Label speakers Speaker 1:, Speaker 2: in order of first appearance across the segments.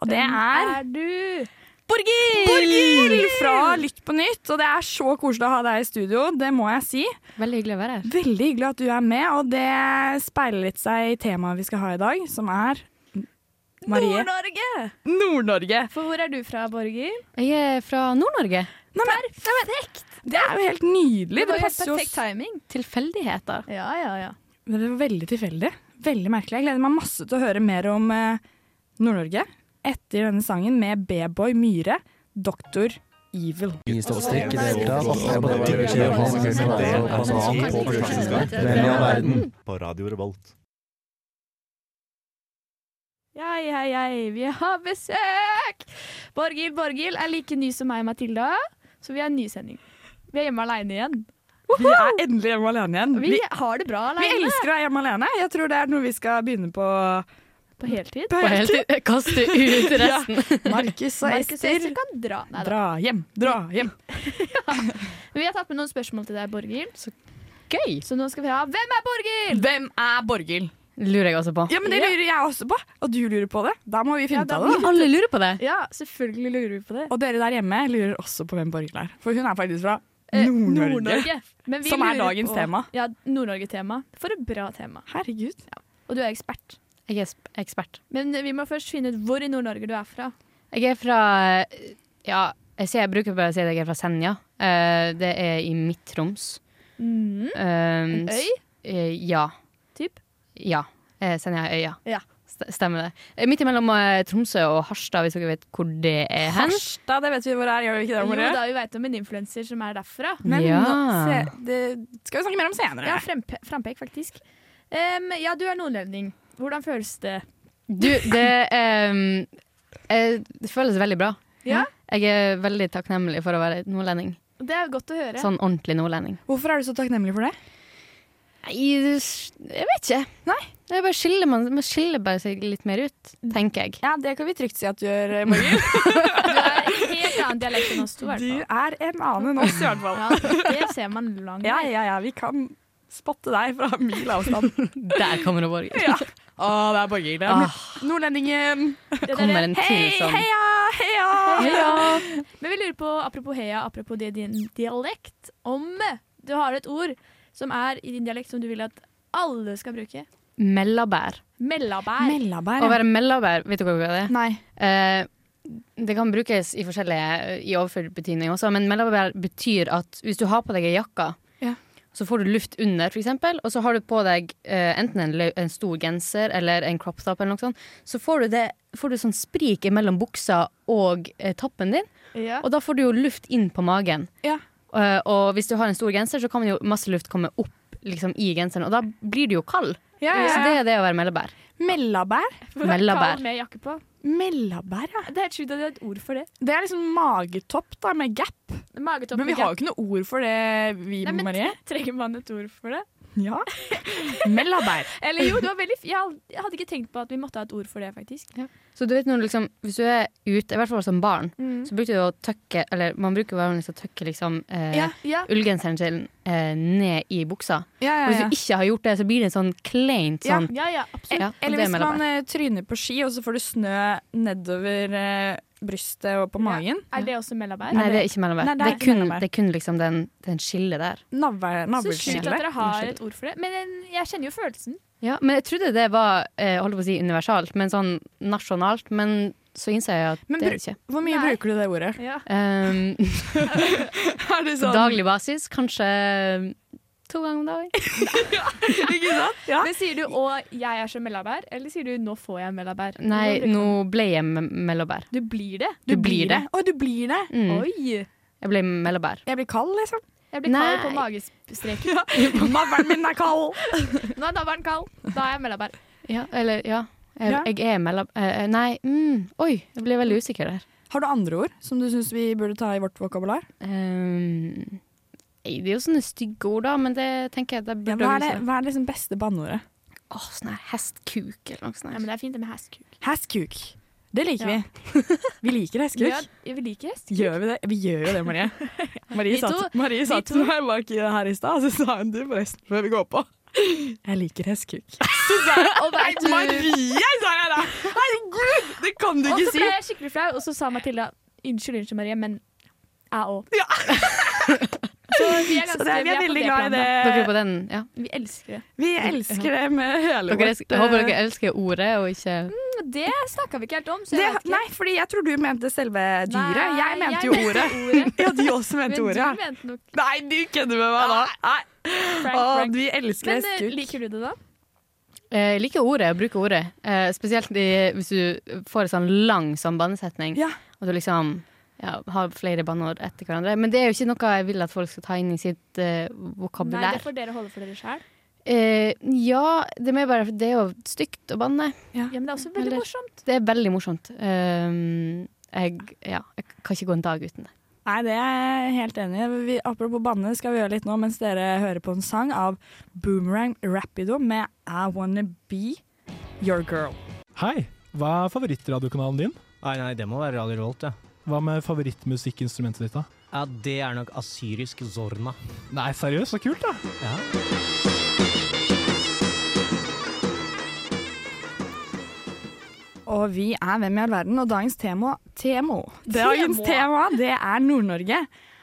Speaker 1: Og det er
Speaker 2: du?
Speaker 1: Borghild! fra Lytt på nytt. Og det er så koselig å ha deg i studio, det må jeg si.
Speaker 2: Veldig hyggelig å være her.
Speaker 1: Veldig hyggelig at du er med, og det speiler litt seg i temaet vi skal ha i dag, som er Marie.
Speaker 3: Nord-Norge!
Speaker 1: Nord-Norge.
Speaker 3: For hvor er du fra, Borghild?
Speaker 2: Jeg er fra Nord-Norge.
Speaker 1: Nei, men
Speaker 3: Perfekt!
Speaker 1: det er jo helt nydelig.
Speaker 3: Det var
Speaker 1: Det
Speaker 3: jo
Speaker 1: passer jo
Speaker 3: perfekt timing.
Speaker 2: Tilfeldigheter.
Speaker 3: Ja, ja, ja.
Speaker 1: Men Det var veldig tilfeldig. Veldig merkelig. Jeg gleder meg masse til å høre mer om eh, Nord-Norge etter denne sangen med B-boy Myhre, Doktor Evil.
Speaker 2: Altså,
Speaker 4: På Radio Revolt.
Speaker 3: Hei, hei, hei, vi har besøk! Borghild, Borghild er like ny som meg og Matilda, så vi har en ny sending. Vi er hjemme alene igjen.
Speaker 1: Vi er endelig hjemme alene igjen.
Speaker 3: Vi
Speaker 1: Vi,
Speaker 3: har det bra
Speaker 1: vi
Speaker 3: alene
Speaker 1: elsker å være hjemme alene. Jeg tror det er noe vi skal begynne på.
Speaker 3: på heltid.
Speaker 1: på
Speaker 2: Og helt til jeg kaster ut resten.
Speaker 1: Markus og
Speaker 3: Markus og
Speaker 1: Ester.
Speaker 3: Ester kan dra. Nei, da.
Speaker 1: Dra hjem, dra hjem.
Speaker 3: Vi har tatt med noen spørsmål til deg, Borghild.
Speaker 2: Gøy!
Speaker 3: Så nå skal vi ha Hvem er Borghild?
Speaker 1: Hvem er Borghild?
Speaker 2: Lurer jeg også på.
Speaker 1: Ja, men Det lurer jeg også på. Og du lurer på det. Da må vi finne ut
Speaker 3: da
Speaker 1: av det. da.
Speaker 2: Alle lurer på det.
Speaker 3: Ja, selvfølgelig lurer vi på det.
Speaker 1: Og dere der hjemme lurer også på hvem Borghild er. For hun er faktisk fra
Speaker 3: Eh,
Speaker 1: Nord-Norge.
Speaker 3: Men vi
Speaker 1: Som er
Speaker 3: lurer
Speaker 1: dagens
Speaker 3: på-
Speaker 1: tema.
Speaker 3: Ja, Nord-Norge-tema. For et bra tema.
Speaker 1: Herregud.
Speaker 3: Og du er ekspert.
Speaker 2: Jeg er sp- ekspert.
Speaker 3: Men vi må først finne ut hvor i Nord-Norge du er fra.
Speaker 2: Jeg er fra Ja, jeg, sier, jeg bruker bare å si at jeg er fra Senja. Eh, det er i Midt-Troms.
Speaker 3: Mm.
Speaker 2: Um,
Speaker 3: Øy,
Speaker 2: ja.
Speaker 3: typ.
Speaker 2: Ja. Eh, Senja er øya.
Speaker 3: Ja.
Speaker 2: St- Stemmer det. Eh, Midt imellom eh, Tromsø og Harstad, hvis dere vet hvor det er hen.
Speaker 1: Harstad, det vet vi hvor er, gjør vi ikke det,
Speaker 3: Jo
Speaker 1: Marie?
Speaker 3: da, vi veit om en influenser som er derfra.
Speaker 1: Men
Speaker 2: Ja.
Speaker 1: nå, se, det skal vi snakke mer om senere.
Speaker 3: Ja, frempe, Frampek, faktisk. Em, ja, du er nordlending. Hvordan føles det?
Speaker 2: Du, det, ehm, eh, det føles veldig bra.
Speaker 3: Ja.
Speaker 2: Jeg er veldig takknemlig for å være nordlending.
Speaker 3: Det er godt å høre.
Speaker 2: Sånn ordentlig nordlending.
Speaker 1: Hvorfor er du så takknemlig for det?
Speaker 2: Nei, du s- jeg vet ikke. Nei. Jeg bare skiller, man, man skiller bare seg litt mer ut, tenker jeg.
Speaker 1: Ja, Det kan vi trygt si at du gjør, Margit.
Speaker 3: Du er i helt annen dialekt enn oss to, i
Speaker 1: Du
Speaker 3: hvert fall.
Speaker 1: er en annen enn oss, i hvert fall.
Speaker 3: Ja, det ser man langt.
Speaker 1: Ja, ja, ja, vi kan spotte deg fra mil avstand.
Speaker 2: Der kommer det Borghild.
Speaker 1: Ja. Å, det er Borghild.
Speaker 2: Ah,
Speaker 1: Nordlendingen.
Speaker 3: Det der er-
Speaker 2: kommer en til
Speaker 1: Hei,
Speaker 2: sånn.
Speaker 1: heia, heia!
Speaker 2: Ja.
Speaker 3: Men vi lurer på, apropos heia, apropos det, din dialekt, om du har et ord som er i din dialekt som du vil at alle skal bruke.
Speaker 2: Mellabær.
Speaker 3: Mellabær.
Speaker 2: Å
Speaker 1: Mellabær.
Speaker 2: være mellabær, vet dere hva det er?
Speaker 1: Nei.
Speaker 2: Eh, det kan brukes i forskjellige i overført betydning også, men mellomvær betyr at hvis du har på deg ei jakke,
Speaker 1: Ja.
Speaker 2: så får du luft under, for eksempel, og så har du på deg eh, enten en, lø- en stor genser eller en crop top, eller noe sånt, så får du, det, får du sånn sprik mellom buksa og eh, toppen din,
Speaker 3: Ja.
Speaker 2: og da får du jo luft inn på magen.
Speaker 1: Ja.
Speaker 2: Eh, og hvis du har en stor genser, så kan jo masse luft komme opp liksom, i genseren, og da blir du jo kald.
Speaker 1: Ja, ja,
Speaker 2: Så
Speaker 1: ja.
Speaker 2: det er det å være mellomvær.
Speaker 1: Mellabær?
Speaker 2: Mellabær.
Speaker 3: Kall Med jakke på.
Speaker 1: Mellabær, ja.
Speaker 3: Det er helt sjukt at de har et ord for det.
Speaker 1: Det er liksom magetopp da, med gap.
Speaker 3: Magetopp
Speaker 1: Men vi
Speaker 3: med
Speaker 1: har jo ikke noe ord for det, vi,
Speaker 3: Nei, men
Speaker 1: Marie.
Speaker 3: Trenger man et ord for det?
Speaker 1: Ja. Mellabær.
Speaker 3: Eller jo, det var veldig f jeg had- jeg hadde ikke tenkt på at vi måtte ha et ord for det, faktisk.
Speaker 2: Så du vet når du liksom, hvis du er ute, i hvert fall som barn,
Speaker 3: Mm.
Speaker 2: så brukte du å tøkke Eller man bruker vanligvis å tøkke liksom eh,
Speaker 1: Ja, ja.
Speaker 2: ullgenseren sin eh, ned i buksa.
Speaker 1: Ja,
Speaker 2: Og
Speaker 1: ja, ja.
Speaker 2: hvis du ikke har gjort det, så blir det en sånn kleint
Speaker 1: Ja. E-
Speaker 2: sånn.
Speaker 3: Ja, ja, absolutt.
Speaker 2: Ja, og
Speaker 1: Eller
Speaker 2: det
Speaker 1: hvis
Speaker 2: melder
Speaker 1: man eh, tryner på ski, og så får du snø nedover eh, brystet og på magen.
Speaker 3: Er det også mellabær?
Speaker 2: meg. Nei, det er ikke mellom
Speaker 1: Nei,
Speaker 2: meg.
Speaker 1: det
Speaker 2: Det
Speaker 1: er
Speaker 2: er kun,
Speaker 1: mellom meg.
Speaker 2: det er kun liksom den, den skillet der.
Speaker 1: Navle-
Speaker 3: Så sjukt
Speaker 1: Navleskillet.
Speaker 3: at dere har et ord for det. Men en- jeg kjenner jo følelsen.
Speaker 2: Ja, men jeg trodde det var eh, holdt på å si universalt, men sånn nasjonalt. Men så innser jeg at
Speaker 1: Men
Speaker 2: det er
Speaker 1: bru-
Speaker 2: det ikke.
Speaker 1: Hvor mye
Speaker 3: Nei.
Speaker 1: bruker du det ordet?
Speaker 3: Ja.
Speaker 2: Um,
Speaker 1: Er det
Speaker 2: på daglig basis kanskje to ganger om dagen.
Speaker 1: Ikke sant? Ja.
Speaker 3: Men sier du 'å, jeg er så mellabær', eller sier du 'nå får jeg mellabær'?
Speaker 2: Nei,
Speaker 3: Hvordan bruker
Speaker 2: nå
Speaker 1: sånn.
Speaker 2: ble jeg me- mellomvær.
Speaker 3: Du Du blir det?
Speaker 2: Du blir det.
Speaker 1: Å, du blir det.
Speaker 2: Mm.
Speaker 3: Oi!
Speaker 2: Jeg ble mellomvær.
Speaker 1: Jeg blir kald, liksom.
Speaker 3: Jeg blir kald på
Speaker 2: Nei.
Speaker 3: magestreken.
Speaker 1: Navlen min er kald!
Speaker 3: Nå er navlen kald. Da er jeg mellabær.
Speaker 2: Ja, eller ja. Jeg,
Speaker 1: Ja.
Speaker 2: jeg er mellom eh, Nei, mm, oi, jeg ble veldig usikker der.
Speaker 1: Har du andre ord som du syns vi burde ta i vårt vokabular?
Speaker 2: Ehm, Eh, nei, det er jo sånne stygge ord, da, men det tenker jeg det
Speaker 1: Ja,
Speaker 2: burde
Speaker 1: hva er det,
Speaker 2: vi snakke-
Speaker 1: hva er det liksom beste banneordet?
Speaker 2: Åh, sånn her hestkuk eller noe
Speaker 3: Ja,
Speaker 2: sånt. her.
Speaker 3: men det er fint det med hestkuk.
Speaker 1: Hestkuk. Det liker
Speaker 3: Ja.
Speaker 1: vi. Vi liker hestkuk.
Speaker 3: Ja, vi liker hest.
Speaker 1: Gjør vi det? Vi gjør jo det, Marie. Marie
Speaker 3: Vi to-
Speaker 1: satt, Marie satt
Speaker 3: to-
Speaker 1: meg bak i det her i stad, og så sa hun du forresten før vi går på. Jeg liker hestkuk. Så sa jeg
Speaker 3: Og vet du-
Speaker 1: Marie, sa jeg da! Herregud, det kan du
Speaker 3: Og
Speaker 1: ikke
Speaker 3: så
Speaker 1: si!
Speaker 3: ble jeg skikkelig flau, og så sa Matilda unnskyld, unnskyld, Marie, men jeg òg.
Speaker 1: Ja.
Speaker 3: Så vi er, ganske,
Speaker 1: Så det, vi er
Speaker 3: på
Speaker 1: veldig glad i
Speaker 3: planet.
Speaker 2: Dere er
Speaker 1: det.
Speaker 2: på den, ja.
Speaker 3: Vi elsker det.
Speaker 1: Vi elsker det med hele
Speaker 2: Dere,
Speaker 1: vårt
Speaker 2: elsker- jeg håper
Speaker 1: eh,
Speaker 2: dere elsker ordet og ikke
Speaker 3: Men det snakka vi ikke helt om, så
Speaker 1: det,
Speaker 3: jeg vet ikke.
Speaker 1: Nei, fordi jeg tror du mente selve dyret.
Speaker 3: Nei,
Speaker 1: jeg mente jo ordet. Ja, de også
Speaker 3: Men
Speaker 1: mente
Speaker 3: du
Speaker 1: ordet. ja.
Speaker 3: mente nok
Speaker 1: Nei, du kødder med meg da. Nei.
Speaker 3: Frank,
Speaker 1: Å,
Speaker 3: Frank.
Speaker 1: vi elsker
Speaker 3: Men eh,
Speaker 1: hestkuk.
Speaker 3: liker du det, da?
Speaker 2: Eh, Jeg liker ordet, jeg bruker ordet. Eh, spesielt i, hvis du får en sånn lang sånn bannesetning.
Speaker 1: Ja.
Speaker 2: Og du liksom ja, har flere banneord etter hverandre. Men det er jo ikke noe jeg vil at folk skal ta inn i sitt eh,
Speaker 3: Nei,
Speaker 2: vokabulær.
Speaker 3: det får dere holde for dere sjæl.
Speaker 2: Eh, ja, det er mer bare for det er jo stygt å banne.
Speaker 3: Ja, men det er også veldig
Speaker 2: Eller-
Speaker 3: morsomt.
Speaker 2: Det er veldig morsomt. Um, jeg, ja, jeg kan ikke gå en dag uten det.
Speaker 1: Nei, det er jeg helt enig i. Vi, apropos banne, skal vi gjøre litt nå mens dere hører på en sang av Boomerang Rapido med I Wanna Be Your Girl.
Speaker 5: Hei, hva er favorittradiokanalen din?
Speaker 6: Nei, nei, det må være Radio Revolt, ja.
Speaker 5: Hva med favorittmusikkinstrumentet ditt da?
Speaker 6: Ja, det er nok asyrisk zorna.
Speaker 5: Nei, seriøst, så kult da!
Speaker 6: Ja.
Speaker 1: Og vi er Hvem i all verden, og dagens tema, temo, dagens tema det er Nord-Norge.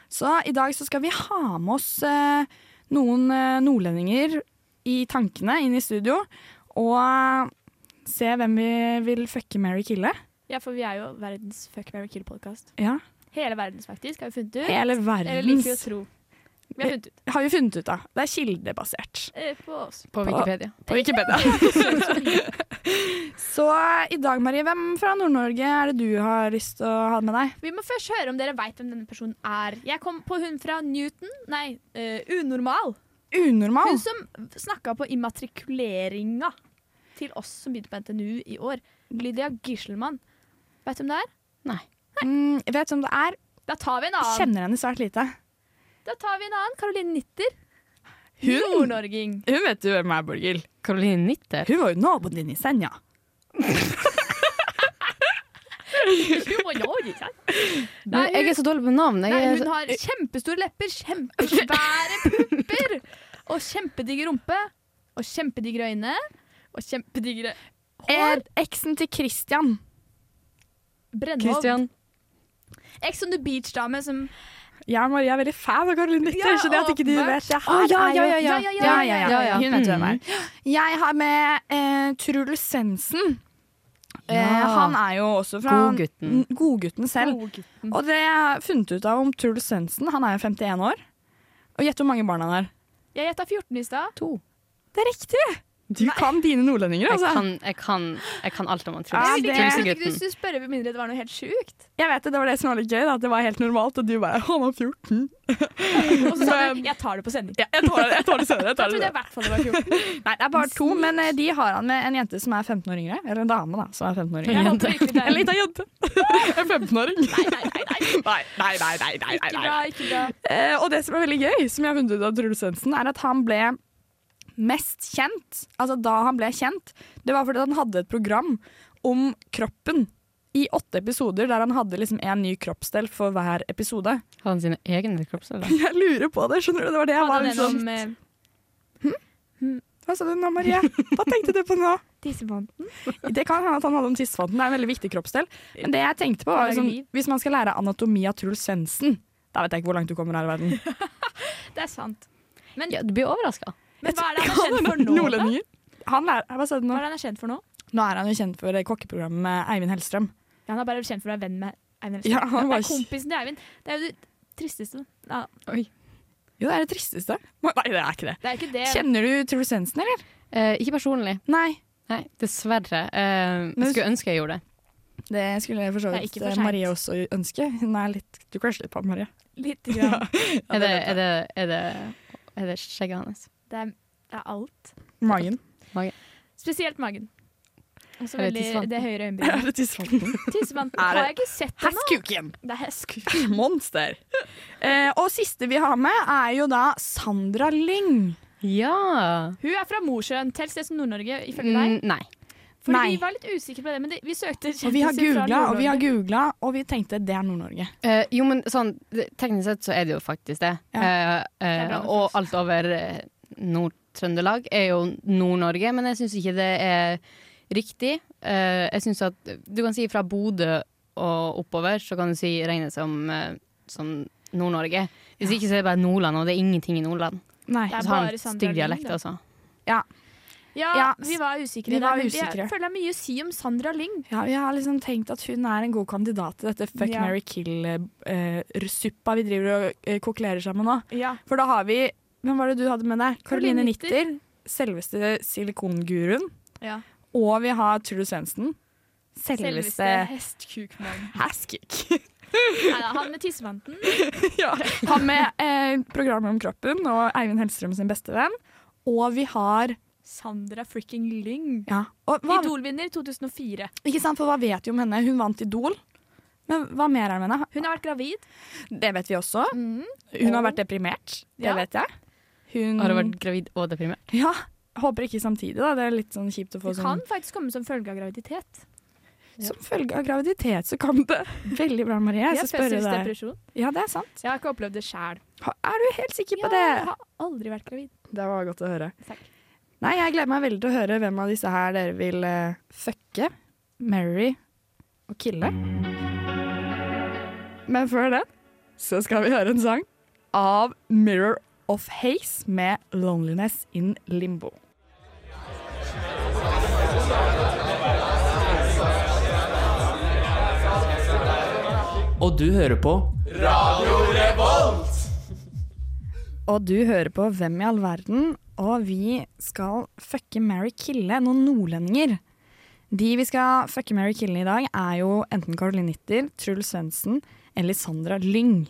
Speaker 1: Så i dag så skal vi ha med oss eh, noen eh, nordlendinger i tankene inn i studio. Og eh, se hvem vi vil fucke Mary Kille.
Speaker 3: Ja, for vi er jo verdens Fuck Mary Kill-podkast.
Speaker 1: Ja.
Speaker 3: Hele verdens, faktisk, har vi funnet ut.
Speaker 1: Hele
Speaker 3: Eller liker vi å
Speaker 1: verdens
Speaker 3: tro. Vi har funnet ut.
Speaker 1: har vi funnet ut av. Det er kildebasert.
Speaker 3: eh, På oss.
Speaker 2: På Wikipedia.
Speaker 1: På Wikipedia. Så i dag, Marie, hvem fra Nord-Norge er det du har lyst til å ha med deg?
Speaker 3: Vi må først høre om dere veit hvem denne personen er. Jeg kom på hun fra Newton. Nei, eh, Unormal.
Speaker 1: Unormal.
Speaker 3: Hun som snakka på immatrikuleringa til oss som begynte på NTNU i år. Lydia Giselmann. Veit du hvem det er?
Speaker 1: Mm, jeg vet hvem det er.
Speaker 3: Da tar vi en annen.
Speaker 1: Kjenner henne svært lite.
Speaker 3: Da tar vi en annen. Caroline Nitter.
Speaker 1: Hun?
Speaker 3: Nordnorging.
Speaker 1: Hun vet du hvem er, Borghild.
Speaker 2: Karoline Nitter.
Speaker 1: Hun var jo naboen din i Senja.
Speaker 3: Hun var nordisk, sant?
Speaker 2: Nei, jeg er så dårlig på navn. Jeg
Speaker 3: Nei,
Speaker 2: er,
Speaker 3: hun
Speaker 2: så-
Speaker 3: har kjempestore lepper, kjempesvære pupper og kjempedigg rumpe og kjempedigre øyne og kjempedigre hår.
Speaker 1: Er eksen til Christian.
Speaker 3: Brennhår.
Speaker 2: Christian.
Speaker 3: Ex on the beach-dame som
Speaker 1: Jeg og Marie er veldig fan av Caroline Nitter,
Speaker 3: Ja,
Speaker 1: så det at ikke du
Speaker 3: åpenbart.
Speaker 1: vet det her
Speaker 2: Å, ja,
Speaker 1: er
Speaker 2: ja,
Speaker 1: jo-
Speaker 2: ja, ja.
Speaker 1: ja, ja, ja, ja, ja. Hun vet hvem
Speaker 2: Mm.
Speaker 1: det er. Jeg har med eh, Truls Svendsen. Eh,
Speaker 2: Ja.
Speaker 1: han er jo også fra
Speaker 2: Godgutten.
Speaker 1: N- Godgutten selv.
Speaker 3: Godgutten.
Speaker 1: Og det jeg har funnet ut av om Truls Svendsen, han er jo 51 år. Og gjett hvor mange barn han har.
Speaker 3: Jeg gjetta 14 i stad.
Speaker 2: To.
Speaker 1: Det er riktig! Du kan dine nordlendinger,
Speaker 2: Jeg
Speaker 1: altså. Jeg,
Speaker 2: kan, jeg, kan, jeg kan alt om han
Speaker 1: Ja, det-
Speaker 3: Ikke
Speaker 2: Truls.
Speaker 3: du
Speaker 2: Tromsøgutten.
Speaker 3: skulle spørre med mindre det var noe helt sjukt.
Speaker 1: vet det, det var det som var litt gøy, da, at det var helt normalt, og du bare Han er 14.
Speaker 3: Og så sa du 'jeg tar det på sending'.
Speaker 1: Ja, jeg tar det, jeg tar det senere. Jeg
Speaker 3: Da
Speaker 1: tar
Speaker 3: trodde
Speaker 1: det.
Speaker 3: jeg i hvert fall det var 14.
Speaker 1: senere. Nei, det er bare to, men eh, de har han med en jente som er 15 år yngre. Eller en dame, da, som er 15 år
Speaker 3: Jeg
Speaker 1: yngre.
Speaker 3: håper virkelig det
Speaker 1: En
Speaker 3: er
Speaker 1: lita jente. En 15-åring. Nei, nei, nei, nei, nei, nei, nei,
Speaker 3: ikke bra. ikke bra.
Speaker 1: Eh, og det som er veldig gøy, som jeg har funnet ut av Truls Svendsen, er at han ble mest kjent, altså da han ble kjent, det var fordi han hadde et program om kroppen i åtte episoder, der han hadde liksom en ny kroppsdel for hver episode.
Speaker 2: Har han sine egne kroppsdeler?
Speaker 1: Jeg lurer på det, skjønner du? Det var det jeg
Speaker 3: Hadde
Speaker 1: var
Speaker 3: han en
Speaker 1: liksom
Speaker 3: om eh,
Speaker 1: Hva sa du nå, Marie? Hva tenkte du på nå?
Speaker 3: tissebånden?
Speaker 1: Det kan hende at han hadde om tissefronten, det er en veldig viktig kroppsdel. Men det jeg tenkte på, var
Speaker 3: Det er
Speaker 1: liksom,
Speaker 3: liv.
Speaker 1: hvis man skal lære anatomi av Truls Svendsen, da vet jeg ikke hvor langt du kommer her i verden.
Speaker 3: Det er sant. Men,
Speaker 2: Ja, du blir overraska.
Speaker 3: men hva er det han er kjent for nå? da?
Speaker 1: Nordlendinger. Han er, hva sa du
Speaker 3: Hva
Speaker 1: nå?
Speaker 3: er det han er kjent for nå?
Speaker 1: Nå er han jo kjent for eh, kokkeprogrammet med Eivind Hellstrøm.
Speaker 3: Ja, han er bare kjent for å være venn med Eivind.
Speaker 1: Ja,
Speaker 3: Ja,
Speaker 1: han
Speaker 3: det
Speaker 1: var
Speaker 3: er kompisen til Eivind. Det er jo det tristeste. Ja,
Speaker 1: Jo, det er det tristeste. Nei, det er ikke det.
Speaker 3: det er ikke det.
Speaker 1: Kjenner du Truls Svendsen, eller?
Speaker 2: Eh, ikke personlig.
Speaker 1: Nei.
Speaker 2: Nei, dessverre. Eh,
Speaker 1: Men-
Speaker 2: jeg skulle ønske jeg gjorde det.
Speaker 1: Det skulle jeg for så
Speaker 3: Det er
Speaker 1: vidt
Speaker 3: ikke for
Speaker 1: eh,
Speaker 3: sent.
Speaker 1: Marie også ønske. Hun er litt, du crusher litt på Marie.
Speaker 3: Litt grann.
Speaker 2: Er det, er det, er det, er det skjegget hans?
Speaker 3: Det er, det er alt.
Speaker 1: Magen.
Speaker 3: Spesielt magen. Også
Speaker 2: Eller
Speaker 3: veldig,
Speaker 2: tissvanten.
Speaker 3: det høyre øyenbrynet.
Speaker 1: Eller tissevanten.
Speaker 3: Tissevanten
Speaker 1: Er det-
Speaker 3: har jeg ikke sett ennå.
Speaker 1: Hestkuken!
Speaker 3: Det er hesku.
Speaker 1: Monster. Eh, og siste vi har med, er jo da Sandra Lyng.
Speaker 2: Ja.
Speaker 3: Hun er fra Mosjøen. Tels det som Nord-Norge, ifølge deg?
Speaker 2: Mm, nei.
Speaker 3: Fordi
Speaker 1: Nei.
Speaker 3: vi var litt usikre på det, men det, vi søkte
Speaker 1: Og vi har
Speaker 3: kjendiser
Speaker 1: googla
Speaker 3: fra
Speaker 1: og vi har
Speaker 3: Nord-Norge.
Speaker 1: googla, og vi tenkte det er Nord-Norge.
Speaker 2: Eh, jo, men sånn det- teknisk sett så er det jo faktisk det.
Speaker 1: Ja.
Speaker 2: Eh,
Speaker 3: Det er
Speaker 2: eh,
Speaker 3: bra med
Speaker 2: og alt over eh, Nord-Trøndelag er jo Nord-Norge, men jeg syns ikke det er riktig. Eh, jeg syns at du kan si fra Bodø og oppover, så kan du si regne som, eh, som Nord-Norge. Hvis ikke så er det bare Nordland, og det er ingenting i Nordland.
Speaker 1: Nei.
Speaker 3: Det er
Speaker 2: Så har han
Speaker 3: bare Sandra
Speaker 2: stygg
Speaker 3: Lyng,
Speaker 2: dialekt,
Speaker 3: da.
Speaker 2: altså.
Speaker 3: Ja,
Speaker 1: Ja,
Speaker 3: vi var usikre.
Speaker 1: vi
Speaker 3: der,
Speaker 1: var
Speaker 3: men
Speaker 1: usikre.
Speaker 3: Jeg føler det er mye å si om Sandra Lyng.
Speaker 1: Ja, vi har liksom tenkt at hun er en god kandidat til dette fuck,
Speaker 3: Ja.
Speaker 1: marry, kill-suppa eh, vi driver og eh, kokulerer sammen nå.
Speaker 3: Ja.
Speaker 1: For da har vi Hvem var det du hadde med deg? Karoline
Speaker 3: Caroline Nitter.
Speaker 1: Nitter. Selveste silikonguruen.
Speaker 3: ja.
Speaker 1: Og vi har Trude Svendsen.
Speaker 3: Selveste
Speaker 1: Selveste
Speaker 3: hestkukmann.
Speaker 1: Haskik.
Speaker 3: Nei, da, han med tissevanten.
Speaker 1: ja. Han med eh, programmet om kroppen og Eivind Hellstrøm sin bestevenn. Og vi har
Speaker 3: Sandra fricking Lyng.
Speaker 1: ja, og hva,
Speaker 3: Idol-vinner 2004.
Speaker 1: Ikke sant, for hva vet vi om henne? Hun vant Idol. Men hva mer er det med henne?
Speaker 3: Hun har vært gravid.
Speaker 1: Det vet vi også.
Speaker 3: Mm.
Speaker 1: Hun har vært deprimert. Det
Speaker 3: Ja.
Speaker 1: vet jeg. Hun
Speaker 2: Har hun vært gravid og deprimert?
Speaker 1: Ja. Håper ikke samtidig, da. Det er litt sånn kjipt å få
Speaker 3: Det kan
Speaker 1: sånn
Speaker 3: faktisk komme som følge av graviditet.
Speaker 1: Som følge av graviditet så kan det Veldig bra, Marie. Jeg
Speaker 3: Ja,
Speaker 1: skal spørre deg.
Speaker 3: fødselsdepresjon.
Speaker 1: Ja, det er sant.
Speaker 3: Jeg har ikke opplevd det sjæl.
Speaker 1: Ha- Er du helt sikker på
Speaker 3: Jeg
Speaker 1: det?
Speaker 3: har aldri vært gravid.
Speaker 1: Det var godt å høre.
Speaker 3: Takk.
Speaker 1: Nei, jeg gleder meg veldig til å høre hvem av disse her dere vil eh, fucke, marry og kille. Men før det så skal vi høre en sang av Mirror of Haze med 'Loneliness in Limbo'.
Speaker 7: Og du hører på
Speaker 1: Og du hører på Hvem i all verden, og vi skal fucke Mary Kille noen nordlendinger. De vi skal fucke Mary Kille i dag, er jo enten Caroline Nitter, Truls Svendsen eller Sandra Lyng.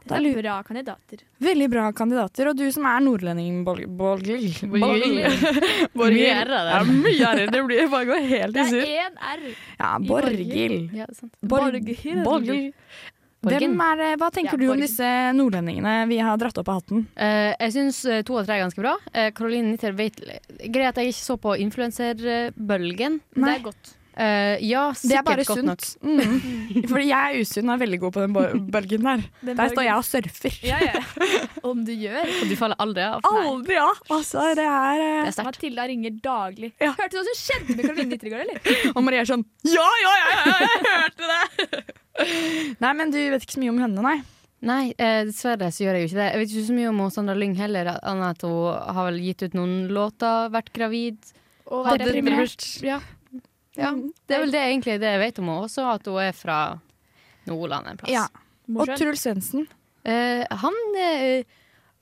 Speaker 3: Det
Speaker 1: Da lurer-
Speaker 3: er bra kandidater.
Speaker 1: Veldig bra kandidater, og du som er nordlending Bol- bol- Borghild.
Speaker 2: Mye R-er der.
Speaker 1: Ja, mye r Det blir bare går helt
Speaker 3: Det
Speaker 1: i surr.
Speaker 3: er én R.
Speaker 1: Ja,
Speaker 3: i
Speaker 1: Borghild.
Speaker 2: Ja, det er sant.
Speaker 1: Borghild. Borghild.
Speaker 2: Borgen.
Speaker 1: Hvem er det- Hva tenker
Speaker 3: Ja,
Speaker 1: du om
Speaker 3: Borghild.
Speaker 1: disse nordlendingene vi har dratt opp av hatten?
Speaker 2: Eh, jeg syns to og tre er ganske bra. Eh, Caroline Nitter vet Greit at jeg ikke så på influenserbølgen.
Speaker 3: Det
Speaker 1: Nei.
Speaker 3: er godt.
Speaker 2: Eh, ja,
Speaker 1: Det er
Speaker 2: sikkert
Speaker 1: bare
Speaker 2: godt nok.
Speaker 1: sunt. Mm. Fordi jeg er usunn og er veldig god på den bo- bølgen der.
Speaker 3: Den
Speaker 1: Der står
Speaker 3: borgen-
Speaker 1: jeg og surfer.
Speaker 3: Ja, ja. Om du gjør.
Speaker 2: Og du faller aldri av.
Speaker 1: Aldri, ja! Altså, det er
Speaker 2: Det
Speaker 1: eh,
Speaker 2: er sterkt.
Speaker 3: Matilda ringer daglig.
Speaker 1: Ja.
Speaker 3: Hørte du hva som skjedde med Caroline Nitter i går, eller?
Speaker 1: Og Marie er sånn Ja, ja, ja, ja, jeg hørte det! Nei, men du vet ikke så mye om henne, nei.
Speaker 2: Nei, eh, dessverre så gjør jeg jo ikke det. Jeg vet ikke så mye om Sandra Lyng heller, annet at hun har vel gitt ut noen låter, vært gravid.
Speaker 3: Og
Speaker 2: Hadde-
Speaker 3: deprimert.
Speaker 2: Ja. ja.
Speaker 1: Mm.
Speaker 2: Det er vel det egentlig det jeg vet om henne også, at hun er fra Nordland en plass.
Speaker 1: Ja. Og
Speaker 3: Morsomt.
Speaker 1: Truls Svendsen.
Speaker 2: Eh, han eh,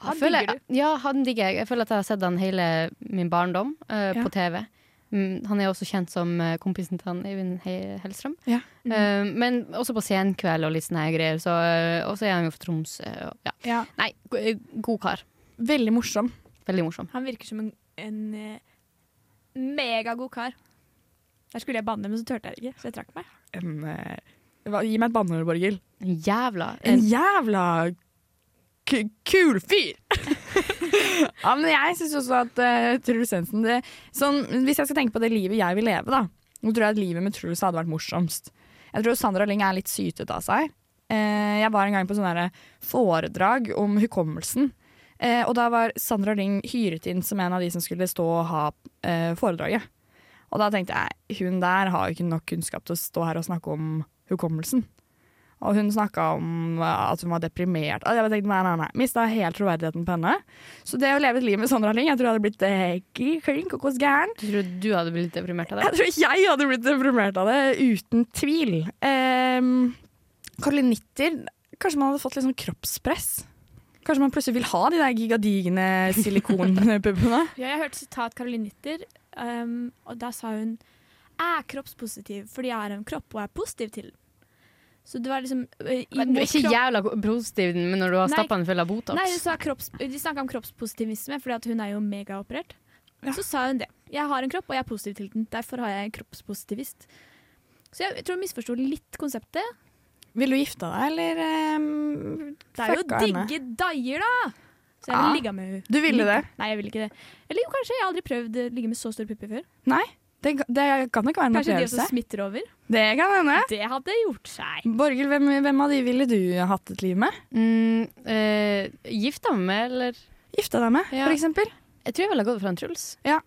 Speaker 3: Han
Speaker 2: føler,
Speaker 3: digger
Speaker 2: Ja, han digger jeg. Jeg føler at jeg har sett han hele min barndom eh,
Speaker 1: Ja.
Speaker 2: på TV. Mm, han er også kjent som eh, kompisen til han, Eivind He- Hellstrøm.
Speaker 1: Ja.
Speaker 2: Eh, men også på Senkveld og litt sånne her greier. Så, eh, og så er han jo fra Tromsø. og- ja.
Speaker 1: Ja.
Speaker 2: Nei, go eh, god kar.
Speaker 1: Veldig morsom.
Speaker 2: Veldig morsom.
Speaker 3: Han virker som en, en eh, megagod kar. Der skulle jeg banne, men så turte jeg ikke, så jeg trakk meg.
Speaker 1: En, eh, hva, gi meg et banneord, Borghild.
Speaker 2: En Jævla.
Speaker 1: En
Speaker 2: En,
Speaker 1: jævla k kul fyr! ja, men jeg syns også at eh, Truls Svendsen det, sånn, Hvis jeg skal tenke på det livet jeg vil leve, da, nå tror jeg at livet med Truls hadde vært morsomst. Jeg tror Sandra Lyng er litt sytet av seg. Eh, jeg var en gang på sånn derre foredrag om hukommelsen. Eh, og da var Sandra Lyng hyret inn som en av de som skulle stå og ha eh, foredraget. Og da tenkte jeg hun der har jo ikke nok kunnskap til å stå her og snakke om hukommelsen. Og hun snakka om eh, at hun var deprimert. Og jeg bare tenkte nei, nei, nei. Mista helt troverdigheten på henne. Så det å leve et liv med Sandra Lyng, jeg tror jeg hadde blitt eh, gli- klin kokos gæren.
Speaker 2: du tror du hadde blitt deprimert av det?
Speaker 1: Jeg tror jeg hadde blitt deprimert av det, uten tvil. Um, Caroline Nitter Kanskje man hadde fått litt sånn kroppspress? Kanskje man plutselig vil ha de der gigadigne silikonpuppene?
Speaker 3: Ja, jeg hørte sitat Caroline Nitter, ehm, og da sa hun Jeg er kroppspositiv fordi jeg har en kropp og er positiv til den. Så det var liksom eh, i
Speaker 2: Men du er
Speaker 3: mot
Speaker 2: ikke
Speaker 3: kropp-
Speaker 2: jævla positiv, men når du har
Speaker 3: Nei.
Speaker 2: stappa den full av Botox
Speaker 3: Nei, hun sa kropps, De snakka om kroppspositivisme fordi at hun er jo megaoperert.
Speaker 1: Ja.
Speaker 3: Så sa hun det. Jeg har en kropp, og jeg er positiv til den. Derfor har jeg en kroppspositivist. Så jeg tror hun misforsto litt konseptet.
Speaker 1: Vil du gifte deg, eller ehm,
Speaker 3: Det er jo
Speaker 1: fucka henne?
Speaker 3: digge daier, da! Så jeg ville
Speaker 1: Ja.
Speaker 3: ligga med henne.
Speaker 1: Du ville det?
Speaker 3: Nei, jeg ville ikke det. Eller jo, kanskje. Jeg har aldri prøvd å ligge med så store pupper før.
Speaker 1: Nei, det, det kan nok være en
Speaker 3: Kanskje de
Speaker 1: opplevelse.
Speaker 3: også smitter over.
Speaker 1: Det kan hende.
Speaker 3: Det hadde gjort seg.
Speaker 1: Borghild, hvem, hvem av de ville du hatt et liv med?
Speaker 2: Mm, eh, gifta meg med, eller
Speaker 1: Gifta deg med,
Speaker 2: Ja.
Speaker 1: for eksempel?
Speaker 2: Jeg tror jeg ville ha gått for en Truls.
Speaker 1: Ja,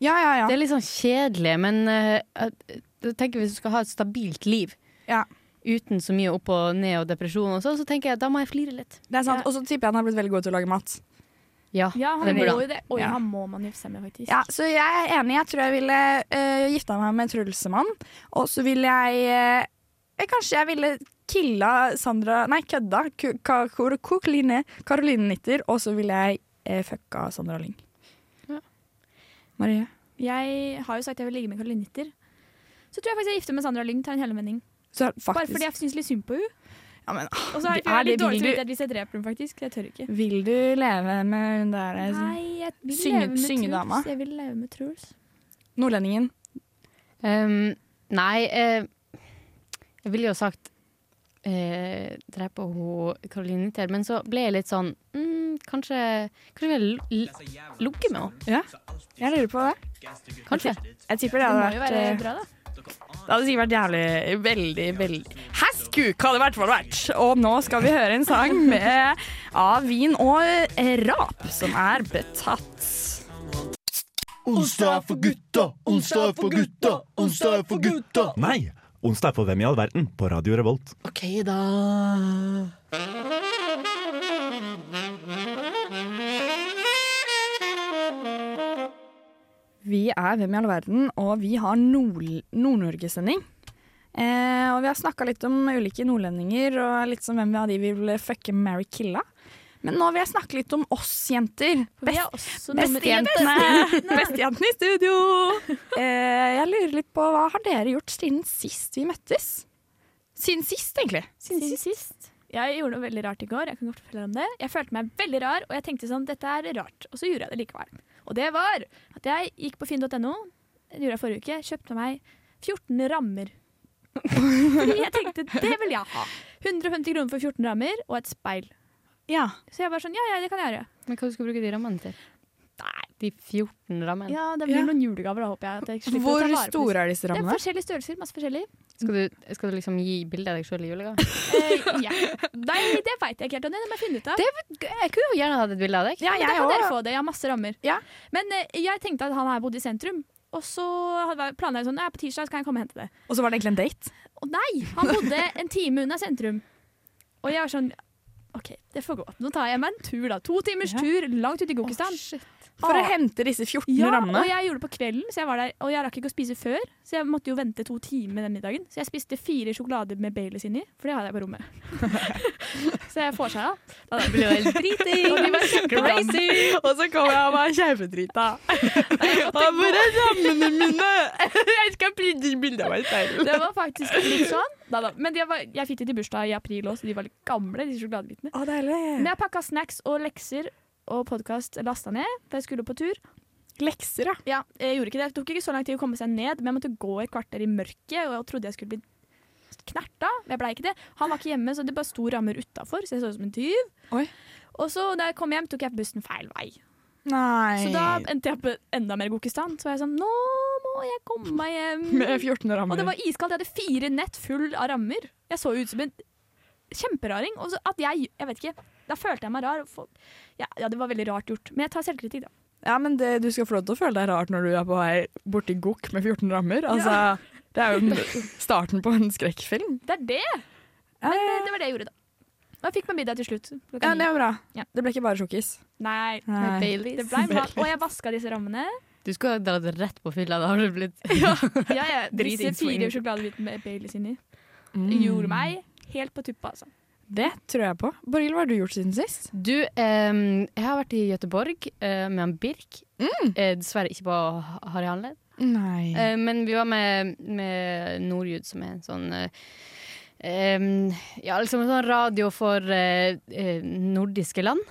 Speaker 1: ja, ja.
Speaker 2: Det er litt sånn kjedelig, men eh, at- jeg tenker hvis du skal ha et stabilt liv
Speaker 1: Ja.
Speaker 2: uten så mye opp og ned og depresjon og sånn, så tenker jeg da må jeg flire litt.
Speaker 1: Det er sant.
Speaker 3: Ja.
Speaker 1: Og så tipper jeg han har blitt veldig god til å lage mat.
Speaker 2: Ja,
Speaker 3: Ja,
Speaker 2: det
Speaker 3: han må
Speaker 2: burde han.
Speaker 3: jo det. Oi,
Speaker 1: Ja.
Speaker 3: han må man gifte seg med, faktisk.
Speaker 1: Ja, Så jeg er enig. Jeg tror jeg ville uh, gifta meg med Trulsemann. Og så ville jeg eh, eh, Kanskje jeg ville killa Sandra Nei, kødda. Ku- Ka- Kor- Kokaline- Karoline Nitter. Og så ville jeg eh, fucka Sandra Lyng.
Speaker 2: Ja.
Speaker 1: Marie?
Speaker 3: Jeg har jo sagt jeg vil ligge med Caroline Nitter. Så tror jeg faktisk jeg gifter meg med Sandra Lyng. Tar en helomvending.
Speaker 1: Så
Speaker 3: Bare
Speaker 1: faktisk
Speaker 3: fordi jeg syns litt synd på henne.
Speaker 1: ja, men, ah,
Speaker 3: Og så har
Speaker 1: det
Speaker 3: jeg jeg
Speaker 1: er
Speaker 3: har litt
Speaker 1: det vil
Speaker 3: dårlig
Speaker 1: du-
Speaker 3: samvittighet hvis jeg dreper henne, faktisk. Jeg tør ikke.
Speaker 1: Vil du leve med hun der eh,
Speaker 3: Nei, jeg vil
Speaker 1: Synge-
Speaker 3: leve med
Speaker 1: syngedama?
Speaker 3: Truls. Jeg vil leve med Truls.
Speaker 1: nordlendingen?
Speaker 2: Um, nei, eh, jeg ville jo sagt eh, drepe hun Caroline Nitter, men så ble jeg litt sånn mm, Kanskje Kanskje vi l- l- ligget med henne?
Speaker 1: Jeg lurer på det.
Speaker 2: Kanskje.
Speaker 1: Jeg tipper det
Speaker 3: Det må
Speaker 1: hadde
Speaker 3: jo
Speaker 1: vært
Speaker 3: være
Speaker 1: eh,
Speaker 3: bra, da.
Speaker 1: Det hadde sikkert vært jævlig Veldig, veldig Hæsku kan det i hvert fall vært Og nå skal vi høre en sang med, Av vin og rap Som er betatt
Speaker 8: Onsdag er for gutta, onsdag er for gutta, onsdag er for gutta.
Speaker 4: Nei! Onsdag er for Hvem i all verden på Radio Revolt.
Speaker 8: Ok, da.
Speaker 1: Vi er Hvem i all verden Og vi har Nord- Nord-Norge-sending eh, Og vi har snakket litt om ulike nordlendinger Og litt som hvem av de vi vil fucke Mary Killa Men nå vil jeg snakke litt om oss jenter
Speaker 3: For vi er også nummer én.
Speaker 1: Bestejentene Bestejentene i studio! Eh, jeg lurer litt på hva har dere gjort siden sist vi møttes? Siden sist, egentlig.
Speaker 3: Siden sist. Jeg gjorde noe veldig rart i går. Jeg kan godt fortelle om det. Jeg følte meg veldig rar, og jeg tenkte sånn, dette er rart. Og så gjorde jeg det likevel. Og det var at jeg gikk på finn.no, det gjorde jeg forrige uke, kjøpte meg 14 rammer. Fordi jeg tenkte, det vil jeg ha. 150 kroner for 14 rammer, og et speil.
Speaker 1: Ja.
Speaker 3: Så jeg bare sånn, ja, ja, det kan jeg gjøre.
Speaker 2: Men hva du skal du bruke de rammene til? Nei, De 14 rammene.
Speaker 3: Ja, det blir
Speaker 1: Ja.
Speaker 3: noen julegaver da, håper jeg. At jeg slipper å
Speaker 1: Hvor
Speaker 3: ta vare på disse.
Speaker 1: store er disse
Speaker 3: Det er
Speaker 1: rammene?
Speaker 3: forskjellige størrelser, masse forskjellig.
Speaker 2: Skal, du, skal du liksom gi bilde av deg sjøl i julegave?
Speaker 3: Eh, ja. Nei, det vet jeg ikke helt, Anja, det må jeg finne ut av.
Speaker 2: Jeg kunne jo gjerne hatt et bilde av deg.
Speaker 3: Ja,
Speaker 1: jeg
Speaker 3: men da kan
Speaker 1: også.
Speaker 3: dere få det. Jeg har masse rammer.
Speaker 1: Ja.
Speaker 3: Men eh, jeg tenkte at han her bodde i sentrum. Og så hadde jeg planlagt sånn, «Nei, på tirsdag kan jeg komme og hente det.
Speaker 1: Og så var det egentlig en date?
Speaker 3: Og nei, han bodde en time unna sentrum. Og jeg var sånn, ok, det får gå. Nå tar jeg meg en tur da. To timers
Speaker 1: Ja.
Speaker 3: tur langt ut i Gokistan.
Speaker 1: For å
Speaker 3: Ah.
Speaker 1: hente disse 14
Speaker 3: ja,
Speaker 1: rammene?
Speaker 3: og jeg gjorde det på kvelden, så jeg var der, og jeg rakk ikke å spise før. Så jeg måtte jo vente to timer den middagen. Så jeg spiste fire sjokolader med Baileys inni, for det hadde jeg på rommet. så jeg får seg da. Da ble det helt driting. Og de var crazy.
Speaker 1: Og så kommer jeg og bare kjempedrita. Hvor er rammene mine? Jeg skal printe bilde av meg selv.
Speaker 3: Det var faktisk litt sånn. Da, da. Men de var, jeg fikk det til bursdag i april òg, så de var litt gamle, de sjokoladebitene.
Speaker 1: Å, deilig.
Speaker 3: Men jeg pakka snacks og lekser og podkast lasta ned, for jeg skulle på tur.
Speaker 1: Lekser, ja.
Speaker 3: Ja, jeg gjorde ikke det. Det tok ikke så lang tid å komme seg ned, men jeg måtte gå et kvarter i mørket, og jeg trodde jeg skulle bli knerta, men jeg blei ikke det. Han var ikke hjemme, så det bare sto rammer utafor, så jeg så ut som en tyv.
Speaker 1: Oi.
Speaker 3: Og så da jeg kom hjem, tok jeg bussen feil vei.
Speaker 1: Nei.
Speaker 3: Så da endte jeg på enda mer Gokistan. Så var jeg sånn Nå må jeg komme meg hjem.
Speaker 1: Med 14
Speaker 3: Og
Speaker 1: rammer.
Speaker 3: det var iskaldt. Jeg hadde fire nett full av rammer. Jeg så ut som en kjemperaring. Og så at jeg Jeg vet ikke. Da følte jeg meg rar. og folk- Ja, ja, det var veldig rart gjort. Men jeg tar selvkritikk, da.
Speaker 1: Ja, men det, du skal få lov til å føle deg rart når du er på vei borti gokk med 14 rammer. Altså, Det er jo den- starten på en skrekkfilm.
Speaker 3: Det er det!
Speaker 1: Ja,
Speaker 3: Men eh,
Speaker 1: ja,
Speaker 3: det var det jeg gjorde, da. Og jeg fikk meg middag til slutt. klokka
Speaker 1: ja,
Speaker 3: ni.
Speaker 1: det er jo bra.
Speaker 3: Ja.
Speaker 1: Det ble ikke bare sjokkis.
Speaker 3: Nei.
Speaker 2: Med
Speaker 1: Nei.
Speaker 2: Baileys.
Speaker 3: Det ble mat. Og jeg vaska disse rammene.
Speaker 2: Du skulle ha dratt rett på fylla. Da har du blitt
Speaker 3: Ja, ja, disse
Speaker 1: Dritingswing.
Speaker 3: fire sjokoladebitene med Baileys inni.
Speaker 1: Mm.
Speaker 3: Gjorde meg helt på tuppa, altså.
Speaker 1: Det tror jeg på. Borghild, hva har du gjort siden sist?
Speaker 2: Du, ehm, jeg har vært i Gøteborg eh, med han Birk. Eh, dessverre ikke på Harry Hanled.
Speaker 1: Nei.
Speaker 2: Eh, men vi var med, med Nordjud, som er en sånn eh, ehm, Ja, liksom en sånn radio for eh, eh, nordiske land.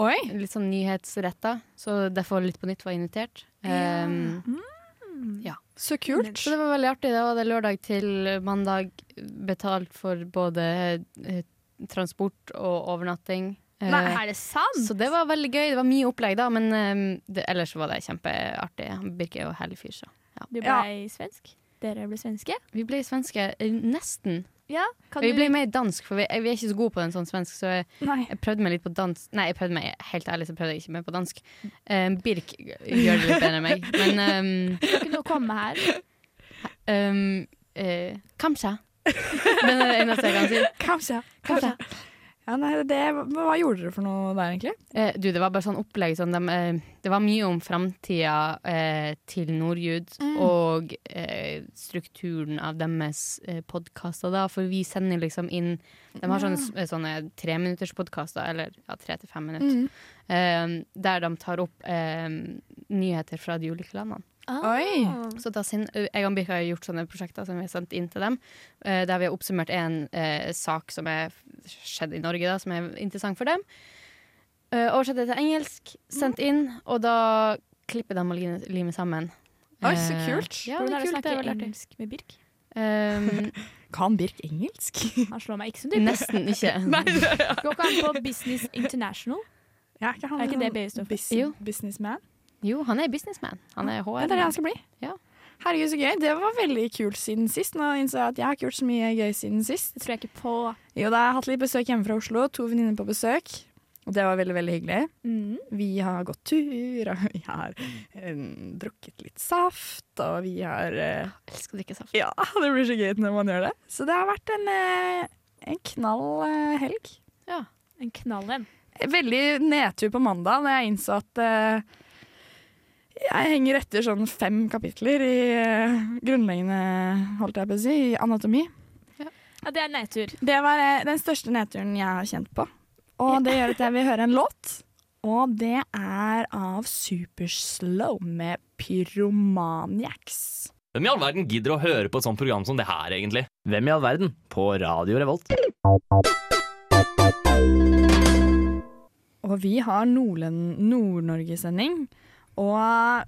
Speaker 1: Oi!
Speaker 2: Litt sånn nyhetsretta. Så derfor Litt på nytt var invitert. Ehm,
Speaker 1: Så kult.
Speaker 2: Så det var veldig artig. Da var det lørdag til mandag betalt for både eh, transport og overnatting. Eh,
Speaker 3: Nei, er det sant?
Speaker 2: så det var veldig gøy. Det var mye opplegg da, men eh, det, ellers var det kjempeartig. Han Birke er jo herlig fyr, så.
Speaker 3: Du ble
Speaker 1: Ja.
Speaker 3: svensk? Dere ble svenske?
Speaker 2: Vi ble svenske eh, nesten.
Speaker 3: Ja. Kan
Speaker 2: Vi
Speaker 3: du-
Speaker 2: ble mer dansk, for vi, eh, vi er ikke så gode på den sånn svensk, så jeg,
Speaker 1: Nei.
Speaker 2: jeg prøvde meg litt på dansk. Nei, jeg prøvde meg, helt ærlig så prøvde jeg ikke mer på dansk. Eh, Birk gjør det litt bedre enn meg, men ehm,
Speaker 3: kan ikke noe komme her.
Speaker 2: ehm, eh, Kamsa. Det er det eneste jeg kan si.
Speaker 1: Kanskje.
Speaker 2: Kamsa.
Speaker 1: Ja, nei, det, hva gjorde dere for noe der, egentlig?
Speaker 2: Eh, du, det var bare sånn opplegg. Sånn, dem, eh, det var mye om framtida eh, til Nordjud og eh, strukturen av deres eh, podkaster, da. For vi sender liksom inn De har sånne, s- eh, sånne treminutterspodkaster, eller ja, tre til fem minutter,
Speaker 1: Mm.
Speaker 2: eh, der de tar opp eh, nyheter fra de ulike landene.
Speaker 1: Oi.
Speaker 3: Ah.
Speaker 2: Så da sin, jeg og Birka har gjort sånne prosjekter som vi har sendt inn til dem, eh, der vi har oppsummert en eh, sak som er skjedd i Norge, da, som er interessant for dem. Eh, oversatt det til engelsk, sendt inn, og da klipper de og limer- limer sammen.
Speaker 1: Oi, så
Speaker 2: Eh,
Speaker 1: kult.
Speaker 2: Ja,
Speaker 3: Hvordan
Speaker 2: det
Speaker 3: er det å
Speaker 2: er kult. Det
Speaker 3: snakke
Speaker 2: er veldig artig.
Speaker 3: engelsk med Birk?
Speaker 2: Ehm,
Speaker 1: Kan Birk engelsk?
Speaker 3: Han slår meg ikke som type.
Speaker 2: nesten ikke.
Speaker 3: Går ikke han på Business International?
Speaker 1: Ja, ikke han,
Speaker 3: Er ikke det BI står for?
Speaker 1: Bus
Speaker 2: Jo.
Speaker 1: Businessman?
Speaker 2: Jo, han er businessman. Han er HR.
Speaker 1: Ja, det er det han skal bli.
Speaker 2: Ja.
Speaker 1: Herregud, så gøy. Det var veldig kult siden sist. Nå innså jeg at jeg har ikke gjort så mye gøy siden sist.
Speaker 3: Det tror jeg ikke på.
Speaker 1: Jo, da har jeg hatt litt besøk hjemme fra Oslo. To venninner på besøk. Og det var veldig, veldig hyggelig.
Speaker 3: Mm.
Speaker 1: Vi har gått tur, og vi har eh, drukket litt saft, og vi har eh,
Speaker 2: Jeg elsker å drikke saft.
Speaker 1: Ja, det blir så gøy når man gjør det. Så det har vært en, eh, en knall eh, helg.
Speaker 3: En knall en.
Speaker 1: Veldig nedtur på mandag da jeg innså at eh, jeg henger etter sånn fem kapitler i eh, grunnleggende, holdt jeg på å si, i anatomi.
Speaker 3: Ja, det er nedtur.
Speaker 1: Det var eh, den største nedturen jeg har kjent på. Og det gjør at jeg vil høre en låt. Og det er av Superslow med Pyromaniacs.
Speaker 9: Hvem i all verden gidder å høre på et sånt program som det her, egentlig?
Speaker 10: Hvem i all verden? På Radio Revolt.
Speaker 1: Og vi har Nordlen- Nord-Norge-sending. Og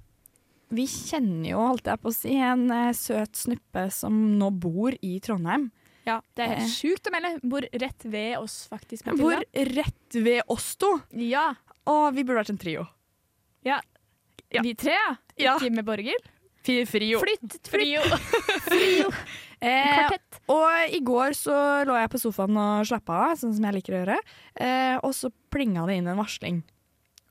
Speaker 1: vi kjenner jo, holdt jeg på å si, en eh, søt snuppe som nå bor i Trondheim.
Speaker 3: Ja, det er
Speaker 1: Eh.
Speaker 3: sjukt å melde. Bor rett ved oss, faktisk. Matilda.
Speaker 1: Bor rett ved oss to.
Speaker 3: Ja.
Speaker 1: Og vi burde vært en trio. Ja.
Speaker 3: Vi tre, ja.
Speaker 1: Ja.
Speaker 3: Ikke med Borghild.
Speaker 1: Frio.
Speaker 3: Flytt, frio.
Speaker 1: Eh,
Speaker 3: Kvartett.
Speaker 1: og i går så lå jeg på sofaen og slappa av, sånn som jeg liker å gjøre. Eh, og så plinga det inn en varsling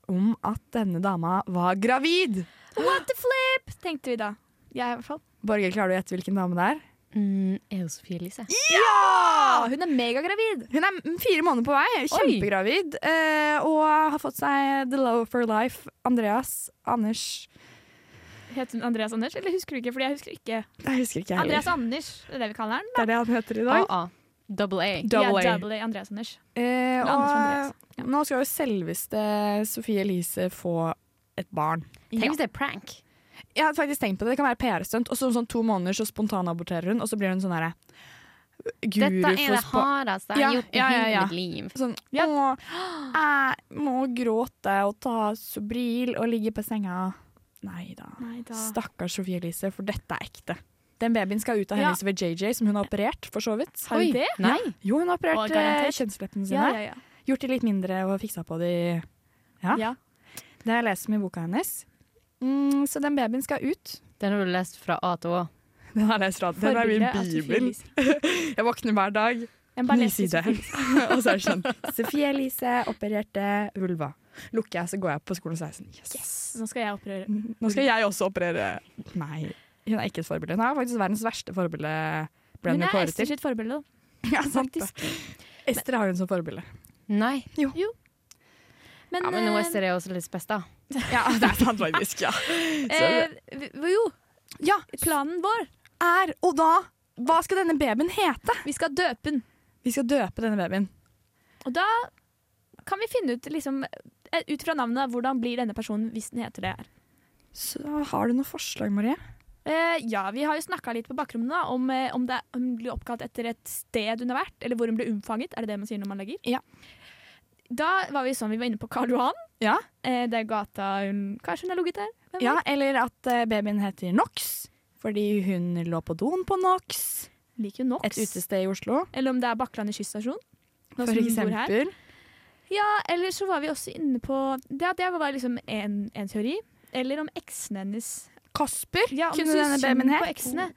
Speaker 1: om at denne dama var gravid.
Speaker 3: What the flip, tenkte vi da. Jeg i hvert fall.
Speaker 1: Borghild, klarer du å gjette hvilken dame det er?
Speaker 2: Mm, er jo Sofie Elise.
Speaker 3: Ah, hun er megagravid.
Speaker 1: Hun er m- fire måneder på vei, kjempegravid, eh, og har fått seg the love for life. Andreas, Anders
Speaker 3: Heter hun Andreas Anders, eller husker du ikke? Fordi jeg husker ikke.
Speaker 1: Jeg husker ikke, jeg
Speaker 3: Andreas
Speaker 1: heller.
Speaker 3: Anders, det er det vi kaller han.
Speaker 1: Det er det han heter i dag.
Speaker 2: AA. Double A.
Speaker 3: Ja, double A, Andreas Anders.
Speaker 1: Eh,
Speaker 3: Anders Andreas.
Speaker 1: og nå skal jo selveste Sofie Elise få et barn.
Speaker 2: Tenk hvis det er prank.
Speaker 1: Jeg har faktisk tenkt på det, det kan være PR-stunt, og så om sånn to måneder så spontanaborterer hun, og så blir hun sånn herre guru
Speaker 2: Dette er
Speaker 1: for
Speaker 2: det
Speaker 1: spa-
Speaker 2: hardeste jeg
Speaker 1: Ja,
Speaker 2: har gjort i
Speaker 1: ja, ja,
Speaker 2: hele
Speaker 1: ja.
Speaker 2: mitt liv.
Speaker 1: Sånn, Åh, jeg må gråte og ta Sobril og ligge på senga. Nei da.
Speaker 3: Nei da.
Speaker 1: Stakkars Sofie Elise, for dette er ekte. Den babyen skal ut av
Speaker 3: Ja.
Speaker 1: hennes ved JJ, som hun har operert, for så vidt.
Speaker 3: Har hun det?
Speaker 2: Nei.
Speaker 1: Jo, hun har
Speaker 3: Og
Speaker 1: operert eh,
Speaker 3: garantert.
Speaker 1: kjønnsleppene sine.
Speaker 3: Ja, ja, ja.
Speaker 1: Gjort de litt mindre og fiksa på de. Ja.
Speaker 3: Ja.
Speaker 1: Det har jeg lest om i boka hennes. Mm, så den babyen skal ut.
Speaker 2: Den har du lest fra A til Å.
Speaker 1: Den har jeg lest rad. Den er min
Speaker 3: Forbildet av altså, Sofie
Speaker 1: bibel.
Speaker 3: Elise.
Speaker 1: Jeg våkner hver dag.
Speaker 3: En
Speaker 1: Ny
Speaker 3: ballettvis
Speaker 1: side.
Speaker 3: Sofie Elise.
Speaker 1: og så er det sånn. Sofie Elise opererte vulva. Lukker jeg, så går jeg på skolen 16. Yes.
Speaker 3: Nå skal jeg opprøre.
Speaker 1: Nå skal jeg også operere. Nei, hun er ikke et forbilde. Hun er faktisk verdens verste forbilde. Ble hun jo
Speaker 3: Hun er
Speaker 1: kåret
Speaker 3: Esther
Speaker 1: til.
Speaker 3: sitt forbilde, da.
Speaker 1: Ja, sant det.
Speaker 3: faktisk.
Speaker 1: Ester har hun som forbilde.
Speaker 2: Nei.
Speaker 3: Men,
Speaker 2: Ja, men nå
Speaker 3: eh,
Speaker 2: er Ester er også litt spes, da.
Speaker 1: Ja, det er sant faktisk, ja.
Speaker 3: eh, vi- vi- Jo,
Speaker 1: Ja,
Speaker 3: planen vår.
Speaker 1: er, og da, hva skal denne babyen hete?
Speaker 3: Vi skal døpe den.
Speaker 1: Vi skal døpe denne babyen.
Speaker 3: Og da kan vi finne ut, liksom, eh, ut fra navnet, hvordan blir denne personen hvis den heter det her.
Speaker 1: Så har du noen forslag, Marie?
Speaker 3: Eh, ja, vi har jo snakka litt på bakrommet da, om, eh, om, det, om hun blir oppkalt etter et sted hun har vært, eller hvor hun ble unnfanget. Er det det man sier når man legger?
Speaker 1: Ja.
Speaker 3: Da var vi sånn, vi var inne på Karl Johan.
Speaker 1: Ja.
Speaker 3: Eh, det er gata hun Kanskje hun har ligget der? Hvem
Speaker 1: Ja, eller at eh, babyen heter Nox fordi hun lå på doen på Nox.
Speaker 3: liker jo Nox.
Speaker 1: Et utested i Oslo,
Speaker 3: Eller om det er Bakklandet kyststasjon. nå
Speaker 1: for
Speaker 3: som vi bor her.
Speaker 1: eksempel.
Speaker 3: Ja, eller så var vi også inne på Det, det var liksom en, en teori. Eller om eksen hennes.
Speaker 1: Kasper
Speaker 3: Ja, om
Speaker 1: kunne
Speaker 3: så
Speaker 1: denne
Speaker 3: synd
Speaker 1: babyen
Speaker 3: På
Speaker 1: het.
Speaker 3: eksene.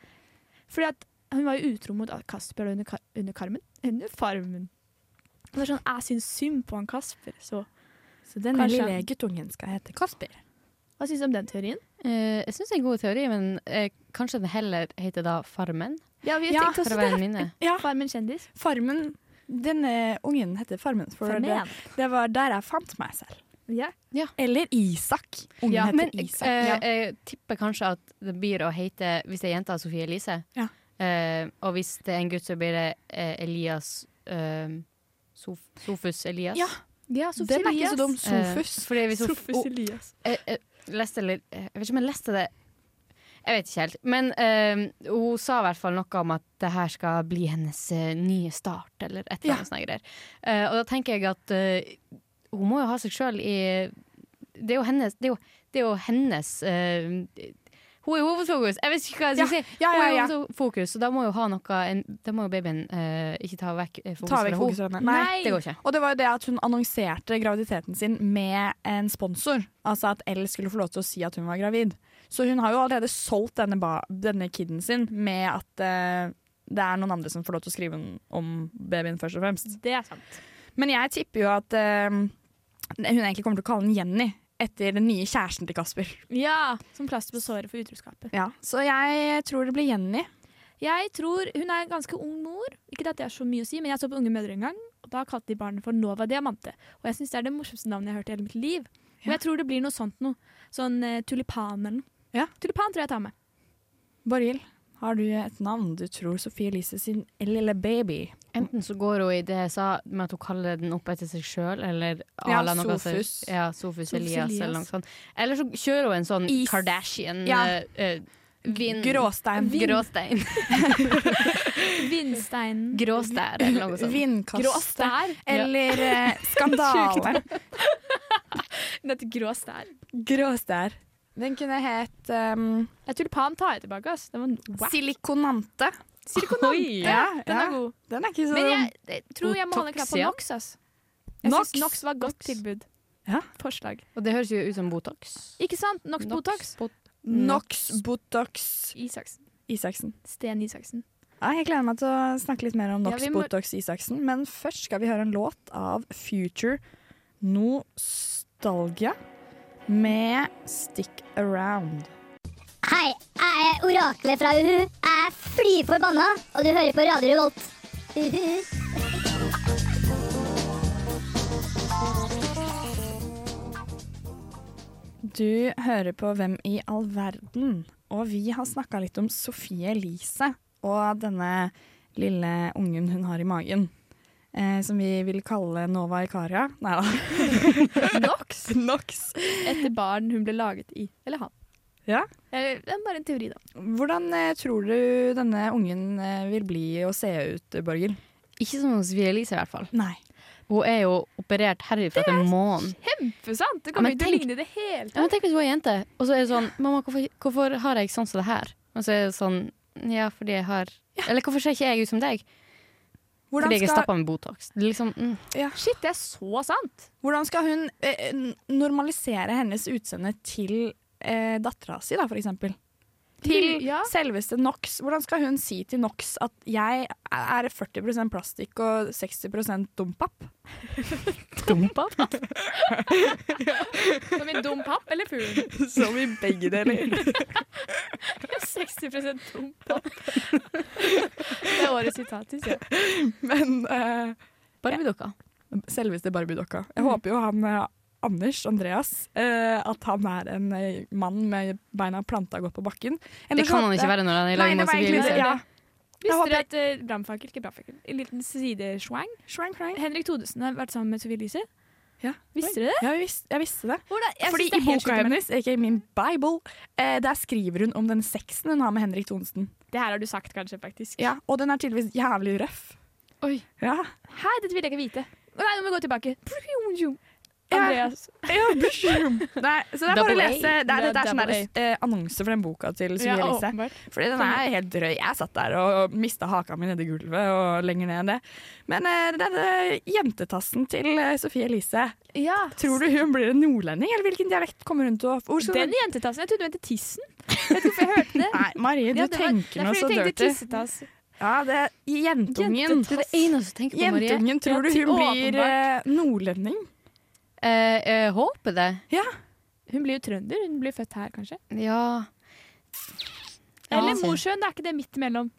Speaker 3: Fordi at hun var jo utro mot Kasper under, ka- under Karmen. Under Farmen. Og det er sånn, Jeg syns synd på han Kasper. Så
Speaker 1: Så denne
Speaker 3: Kanskje.
Speaker 1: lille guttungen skal hete Kasper.
Speaker 3: hva syns du om den teorien?
Speaker 2: Eh, jeg syns det er en god teori, men eh, kanskje det heller heter da Farmen?
Speaker 3: Ja, vi
Speaker 1: Ja,
Speaker 3: tenkte
Speaker 2: For
Speaker 3: også
Speaker 2: å
Speaker 3: det.
Speaker 2: være en minne.
Speaker 1: Ja,
Speaker 3: Farmen kjendis.
Speaker 1: Farmen. Denne ungen heter Farmen, for
Speaker 3: Farmen.
Speaker 1: det, det var der jeg fant meg selv.
Speaker 3: Ja.
Speaker 1: Eller Isak. Ungen
Speaker 3: Ja,
Speaker 1: heter
Speaker 2: Men
Speaker 1: Isak.
Speaker 2: eh,
Speaker 1: Ja.
Speaker 2: jeg tipper kanskje at det blir å hete, hvis det er jenta, Sofie Elise.
Speaker 1: Ja.
Speaker 2: Eh, og hvis det er en gutt, så blir det eh, Elias eh, Sof Sofus Elias.
Speaker 1: Ja,
Speaker 3: ja
Speaker 1: Den er ikke så dum.
Speaker 2: Eh,
Speaker 1: Sofus.
Speaker 2: fordi hvis hun-
Speaker 3: Sofus Elias.
Speaker 2: jeg, jeg Eh, leste litt eh, Jeg vet ikke om jeg leste det Jeg vet ikke helt. Men eh, hun sa i hvert fall noe om at det her skal bli hennes eh, nye start, eller et
Speaker 1: Ja.
Speaker 2: eller annet sånt greier. Eh, og da tenker jeg at eh, hun må jo ha seg sjøl i Det er jo hennes Det er jo, det er jo hennes eh, Hun er jo hovedfokus! Jeg vet ikke hva jeg skal si.
Speaker 1: Ja,
Speaker 2: Hun
Speaker 1: ja,
Speaker 2: er jo
Speaker 1: ja.
Speaker 2: hovedfokus, så da må jo ha noe en, Da må jo babyen eh, ikke ta vekk eh, fokuset
Speaker 1: Ta vekk
Speaker 2: fra henne.
Speaker 1: fokuset fra henne.
Speaker 2: Nei, det går ikke.
Speaker 1: Og det var jo det at hun annonserte graviditeten sin med en sponsor. Altså at Elle skulle få lov til å si at hun var gravid. Så hun har jo allerede solgt denne, ba denne kiden sin med at eh, det er noen andre som får lov til å skrive den om babyen, først og fremst.
Speaker 3: Det er sant.
Speaker 1: Men jeg tipper jo at eh, hun egentlig kommer til å kalle den Jenny. Etter den nye kjæresten til Kasper.
Speaker 3: Ja, Som plaster på såret for utroskapet.
Speaker 1: Ja, så jeg tror det blir Jenny.
Speaker 3: Jeg tror Hun er en ganske ung mor. Ikke at det er så mye å si, men jeg så på Unge mødre en gang, og da kalte de barnet for Nova Diamante. Og jeg syns det er det morsomste navnet jeg har hørt i hele mitt liv. Men jeg tror det blir noe sånt noe. Sånn eh, tulipan eller noe.
Speaker 1: Ja.
Speaker 3: Tulipan tror jeg jeg tar med.
Speaker 1: Borghild, har du et navn du tror Sophie Elise sin lille baby?
Speaker 2: Enten så går hun i det jeg sa med at hun kaller den opp etter seg sjøl, eller
Speaker 1: Ja,
Speaker 2: ala noe som-
Speaker 1: Sofus.
Speaker 2: Ja, Sofus
Speaker 3: Sofus
Speaker 2: Elias,
Speaker 3: Elias.
Speaker 2: eller noe sånt. Eller så kjører hun en sånn
Speaker 1: Is.
Speaker 2: Kardashian
Speaker 1: Ja.
Speaker 2: eh, eh, vin-
Speaker 1: Gråstein.
Speaker 2: Gråstein.
Speaker 3: Vindsteinen.
Speaker 2: Gråstær, eller noe
Speaker 3: Grå
Speaker 2: sånt.
Speaker 1: Vindkaste.
Speaker 3: stær.
Speaker 1: Eller eh, skandale.
Speaker 3: Dette grå stær.
Speaker 1: Gråstær. Den kunne hett um,
Speaker 3: Ja, tulipan tar jeg tilbake, ass. Den var wack.
Speaker 1: Silikonante.
Speaker 2: Oi.
Speaker 3: Ja, den er
Speaker 1: ja.
Speaker 3: god.
Speaker 1: Den er ikke så
Speaker 3: Men
Speaker 1: dum.
Speaker 3: jeg, jeg tror jeg må holde krav på
Speaker 2: Botox, ja.
Speaker 3: Nox, ass. Jeg
Speaker 1: Nox?
Speaker 3: syns Nox var et godt tilbud.
Speaker 1: Ja.
Speaker 3: Forslag.
Speaker 2: Og det høres jo ut som Botox.
Speaker 3: Ikke sant? Nox, Botox.
Speaker 2: Bot-
Speaker 1: Nox, Botox,
Speaker 3: Isaksen.
Speaker 1: Isaksen.
Speaker 3: Sten Isaksen.
Speaker 1: Ja, jeg gleder meg til å snakke litt mer om Nox,
Speaker 3: Ja, vi må-
Speaker 1: Botox, Isaksen. Men først skal vi høre en låt av Future Nostalgia med Stick Around.
Speaker 8: Hei, jeg er oraklet fra Uhu. Jeg er fly forbanna, og du hører på Radio Revolt. Uhu.
Speaker 1: Du hører på Hvem i all verden? Og vi har snakka litt om Sofie Elise og denne lille ungen hun har i magen. Eh, som vi vil kalle Nova Ikaria. Nei da.
Speaker 3: Nox.
Speaker 1: Nox.
Speaker 3: Etter baren hun ble laget i. Eller han.
Speaker 1: Ja.
Speaker 3: Eller, det er bare en teori, da.
Speaker 1: Hvordan eh, tror du denne ungen eh, vil bli å se ut, Borghild?
Speaker 2: Ikke som hos Via Elise, i hvert fall.
Speaker 1: Nei.
Speaker 2: Hun er jo operert herifra til månen.
Speaker 3: For sant? Det kommer
Speaker 2: kommer jo
Speaker 3: ikke til å ligne i det hele
Speaker 2: Ja, men tenk hvis hun er jente, og så er det sånn Mamma, hvorfor, hvorfor har jeg sånn som det her? Og så er det sånn Ja, fordi jeg har Eller hvorfor ser ikke jeg ut som deg?
Speaker 1: Hvordan
Speaker 2: Fordi jeg er
Speaker 1: skal,
Speaker 2: stappa med Botox. Det er liksom, mm.
Speaker 3: Shit, det er så sant!
Speaker 1: hvordan skal hun eh, n- normalisere hennes utseende til eh, dattera si, da, for eksempel? Til
Speaker 3: Ja.
Speaker 1: selveste Nox. Hvordan skal hun si til Nox at jeg er 40 plastikk og 60 dompap?
Speaker 3: Som en dum papp eller fugl?
Speaker 1: Som i begge deler.
Speaker 3: 60 dum papp. Det er årets sitat, syns jeg.
Speaker 1: Men eh,
Speaker 2: Barbiedukka.
Speaker 1: selveste Barbie-dokka. Jeg håper jo han eh, Anders Andreas, eh, at han er en eh, mann med beina planta godt på bakken.
Speaker 2: Det
Speaker 1: Ellers
Speaker 2: kan han
Speaker 1: håper
Speaker 2: ikke
Speaker 1: jeg-
Speaker 2: være når han er i
Speaker 1: Nei,
Speaker 2: lag
Speaker 1: det
Speaker 2: med
Speaker 1: var
Speaker 2: Sofie
Speaker 1: egentlig det.
Speaker 2: Elise.
Speaker 1: Ja. Jeg
Speaker 3: Visste
Speaker 1: håper-
Speaker 3: dere at eh, brannfakkel, ikke brannfakkel, en liten sideswang?
Speaker 1: Shrang, shrang.
Speaker 3: Henrik Thodesen har vært sammen med Sofie Elise.
Speaker 1: Ja.
Speaker 3: Visste dere det?
Speaker 1: Ja, jeg, visste, jeg visste det.
Speaker 3: Hvordan? Jeg
Speaker 1: Fordi
Speaker 3: synes det
Speaker 1: i
Speaker 3: er helt
Speaker 1: boka
Speaker 3: sjukt, men
Speaker 1: hennes, ikke i min bible, eh, der skriver hun om den sexen hun har med Henrik Thonsen.
Speaker 3: Det her har du sagt, kanskje, faktisk.
Speaker 1: Ja, og den er tydeligvis jævlig røff.
Speaker 2: Oi.
Speaker 1: Ja.
Speaker 3: Hæ, dette vil jeg ikke vite. Å Nei, nå må vi gå tilbake. Andreas.
Speaker 1: Ja, boom. Nei, så det er bare å
Speaker 2: Double A.
Speaker 1: lese. Det er, dette er sånn der,
Speaker 3: Double
Speaker 1: eh, annonse for den boka til Sofie
Speaker 3: Ja,
Speaker 1: Elise.
Speaker 3: åpenbart.
Speaker 1: Fordi den er helt drøy. Jeg satt der og mista haka mi nedi gulvet og lenger ned enn det. Men eh, denne jentetassen til eh, Sofie Elise,
Speaker 3: Ja.
Speaker 1: tror du hun blir en nordlending, eller hvilken dialekt kommer hun til å Hvor skal
Speaker 3: Den
Speaker 1: hun
Speaker 3: jentetassen. Jeg trodde du mente tissen. Vet ikke hvorfor jeg hørte det.
Speaker 1: Nei, Marie, du
Speaker 3: Ja, det var- det er
Speaker 1: tenker noe
Speaker 3: fordi
Speaker 1: så
Speaker 3: jeg tenkte
Speaker 1: dirty.
Speaker 3: tissetass.
Speaker 1: Ja, det er jentungen.
Speaker 2: Det er det eneste jeg tenker på, Marie.
Speaker 1: Jentungen, tror du
Speaker 3: Ja,
Speaker 1: hun blir
Speaker 3: åpenbart.
Speaker 1: eh, nordlending?
Speaker 2: Eh, jeg håper det.
Speaker 3: Hun blir jo trønder. Hun blir født her, kanskje.
Speaker 2: Ja. Ja. altså,
Speaker 3: Eller
Speaker 1: altså.
Speaker 3: Mosjøen. Det er ikke det midt imellom.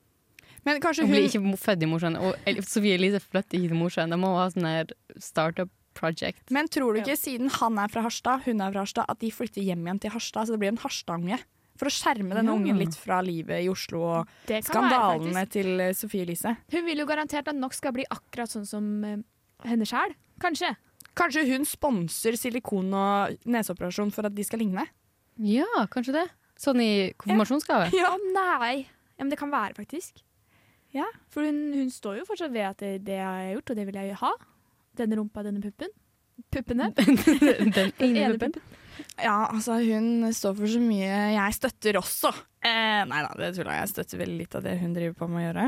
Speaker 1: Men kanskje
Speaker 2: Hun
Speaker 1: hun
Speaker 2: blir ikke mo- født i Mosjøen. Og El- Sofie Elise flytter ikke til Mosjøen. De må ha sånn her startup project.
Speaker 1: Men tror du ikke, siden han er fra Harstad, hun er fra Harstad, at de flytter hjem igjen til Harstad? Så det blir en Harstad-unge? For å skjerme denne
Speaker 2: Ja.
Speaker 1: ungen litt fra livet i Oslo og
Speaker 3: Det kan være,
Speaker 1: skandalene
Speaker 3: faktisk.
Speaker 1: til eh, Sophie Elise.
Speaker 3: Hun vil jo garantert at nok skal bli akkurat sånn som eh, henne sjæl. Kanskje.
Speaker 1: Kanskje hun sponser silikon- og neseoperasjon for at de skal ligne?
Speaker 2: Ja, kanskje det. Sånn i konfirmasjonsgave.
Speaker 3: Å nei! Ja, men det kan være, faktisk.
Speaker 1: Ja.
Speaker 3: For hun, hun står jo fortsatt ved at det, det har jeg gjort, og det vil jeg ha. Denne rumpa, denne puppen. Puppene.
Speaker 2: Den ene
Speaker 3: ene
Speaker 2: puppen.
Speaker 1: Ja, altså hun står for så mye jeg støtter også. Eh, nei da, det tuller jeg. Jeg støtter veldig litt av det hun driver på med å gjøre.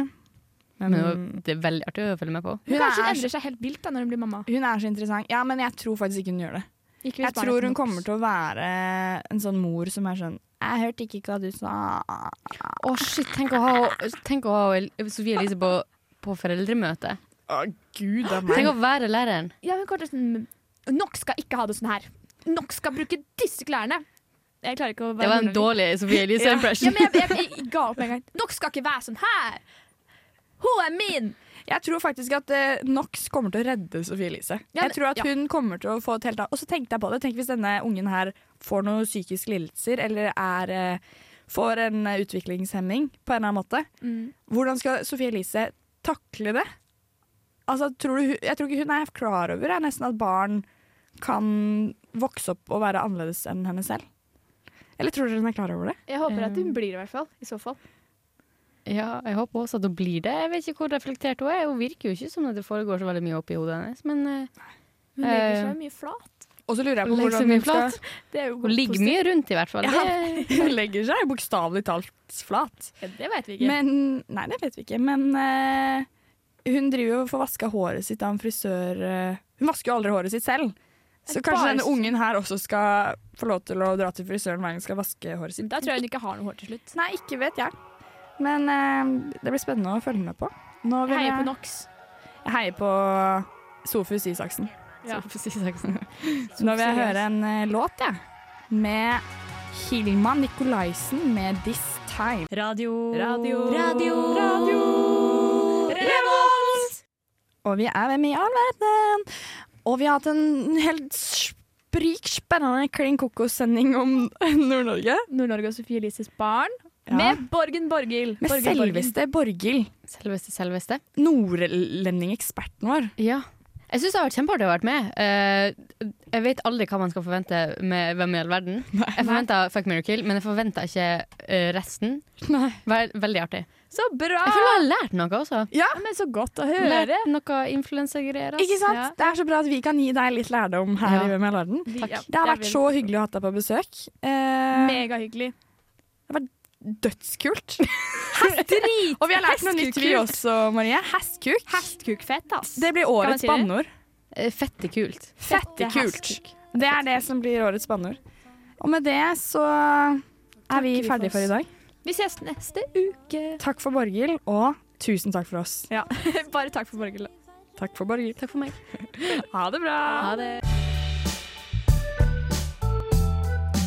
Speaker 1: Men,
Speaker 2: Men det var- det er veldig artig å følge med på.
Speaker 3: Men
Speaker 1: hun,
Speaker 3: kanskje hun
Speaker 1: er,
Speaker 3: endrer seg helt vilt da når hun blir mamma.
Speaker 1: så- hun er så interessant. Ja, men jeg tror faktisk ikke hun gjør det.
Speaker 3: Ikke
Speaker 1: Jeg tror hun kommer til å være en sånn mor som er sånn Jeg hørte ikke hva du sa.
Speaker 2: Å, shit. Tenk å ha, tenk å ha El- Sofie Elise på, på foreldremøte.
Speaker 1: Å, gud a
Speaker 2: Tenk å være læreren.
Speaker 3: Ja, hun kommer til å sånn Nok skal ikke ha det sånn her. Nok skal bruke disse klærne. Jeg klarer ikke å
Speaker 2: Det
Speaker 3: være
Speaker 2: var en
Speaker 3: nordlending.
Speaker 2: dårlig Sofie Elise
Speaker 3: Ja,
Speaker 2: impression.
Speaker 3: men jeg, jeg, jeg ga opp med en gang. Nok skal ikke være sånn her! Hun er min!
Speaker 1: Jeg tror faktisk at eh, Nox kommer til å redde Sophie Elise.
Speaker 3: Ja, men-
Speaker 1: jeg tror at
Speaker 3: ja.
Speaker 1: hun kommer til å få et helt annet Og så tenkte jeg på det. Tenk hvis denne ungen her får noen psykiske lidelser, eller er eh, Får en eh, utviklingshemming på en eller annen måte.
Speaker 3: Mm.
Speaker 1: Hvordan skal Sophie Elise takle det? Altså, tror du, hun- jeg tror ikke hun er klar over jeg, nesten at barn kan vokse opp og være annerledes enn henne selv. Eller tror dere hun er klar over det?
Speaker 3: Jeg håper at hun blir det, i hvert fall. I så fall.
Speaker 2: Ja, jeg håper også at hun blir det. Jeg vet ikke hvor reflektert hun er. Hun virker jo ikke som at det foregår så veldig mye oppi hodet hennes, men eh,
Speaker 3: Hun legger seg mye flat.
Speaker 1: Og så lurer jeg på
Speaker 2: hun legger
Speaker 1: hvordan
Speaker 2: seg
Speaker 1: hun
Speaker 2: mye
Speaker 1: skal
Speaker 2: flat.
Speaker 3: Det er jo
Speaker 2: Hun ligger mye rundt, i hvert fall.
Speaker 1: Ja.
Speaker 2: Det,
Speaker 1: Hun legger seg bokstavelig talt flat.
Speaker 3: positivt. Det vet vi ikke.
Speaker 1: Men Nei, det vet vi ikke. Men eh, hun driver jo og får vaska håret sitt av en frisør eh, Hun vasker jo aldri håret sitt selv. Så
Speaker 3: Et
Speaker 1: kanskje
Speaker 3: par-
Speaker 1: denne ungen her også skal få lov til å dra til frisøren hver gang hun skal vaske håret sitt.
Speaker 3: da tror jeg hun ikke har noe hår til slutt.
Speaker 1: Nei, ikke vet jeg. Men eh, det blir spennende å følge med på. Nå vil
Speaker 3: Jeg heier på Nox.
Speaker 1: jeg heier på Sofus Isaksen.
Speaker 3: Ja.
Speaker 2: Så precis sagt sånn.
Speaker 1: Nå vil jeg høre en eh, låt, jeg. Med Hilma Nikolaisen med 'This Time'.
Speaker 11: Radio.
Speaker 1: Radio. Revolt! Og vi er Hvem i all verden? Og vi har hatt en helt sprik spennende klin kokos-sending om Nord-Norge.
Speaker 3: Nord-Norge og Sofie Elises barn.
Speaker 1: Ja.
Speaker 3: Med Borgen Borghild.
Speaker 1: Med
Speaker 3: Borgen Borghild.
Speaker 1: selveste Borghild,
Speaker 2: Selveste, selveste.
Speaker 1: nordlendingeksperten vår.
Speaker 2: Ja. Jeg syns det har vært kjempeartig å være med. Eh, jeg vet aldri hva man skal forvente med Hvem i all verden. Jeg forventa Fuck Mary Kill, men jeg forventa ikke eh, resten.
Speaker 1: Nei. Ah!
Speaker 2: Vel- Veldig artig.
Speaker 3: Så bra!
Speaker 2: Jeg føler jeg har lært noe også.
Speaker 3: Ja, men så godt å
Speaker 2: Lært
Speaker 3: høre.
Speaker 2: noe influensergreier. altså. ass.
Speaker 1: Ikke sant?
Speaker 3: Ja.
Speaker 1: Det er så bra at vi kan gi deg litt lærdom her
Speaker 2: Ja.
Speaker 1: i Hvem i all verden.
Speaker 3: Vi-
Speaker 2: Takk.
Speaker 3: ja,
Speaker 1: Det har
Speaker 3: er
Speaker 1: vært så hyggelig å ha deg på besøk.
Speaker 3: veldig-
Speaker 1: Eh,
Speaker 3: Megahyggelig.
Speaker 1: dødskult. Og vi har lært noe nytt vi
Speaker 3: Hestkukult.
Speaker 1: også, Marie. Hestkuk.
Speaker 3: Hestkukfett, ass.
Speaker 1: Det blir
Speaker 3: Kan man
Speaker 1: årets
Speaker 3: si det?
Speaker 1: banneord.
Speaker 2: Eh, Fette kult.
Speaker 1: Fettekult. Det er det som blir årets banneord. Og med det så er vi
Speaker 3: Takker vi for
Speaker 1: ferdige for i
Speaker 3: oss.
Speaker 1: dag.
Speaker 3: Vi ses neste uke.
Speaker 1: Takk for Borghild, og tusen takk for oss.
Speaker 3: Ja, bare takk for Borghild.
Speaker 1: Takk for Borghild.
Speaker 2: Takk for meg.
Speaker 1: Ha det bra.
Speaker 2: Ha det.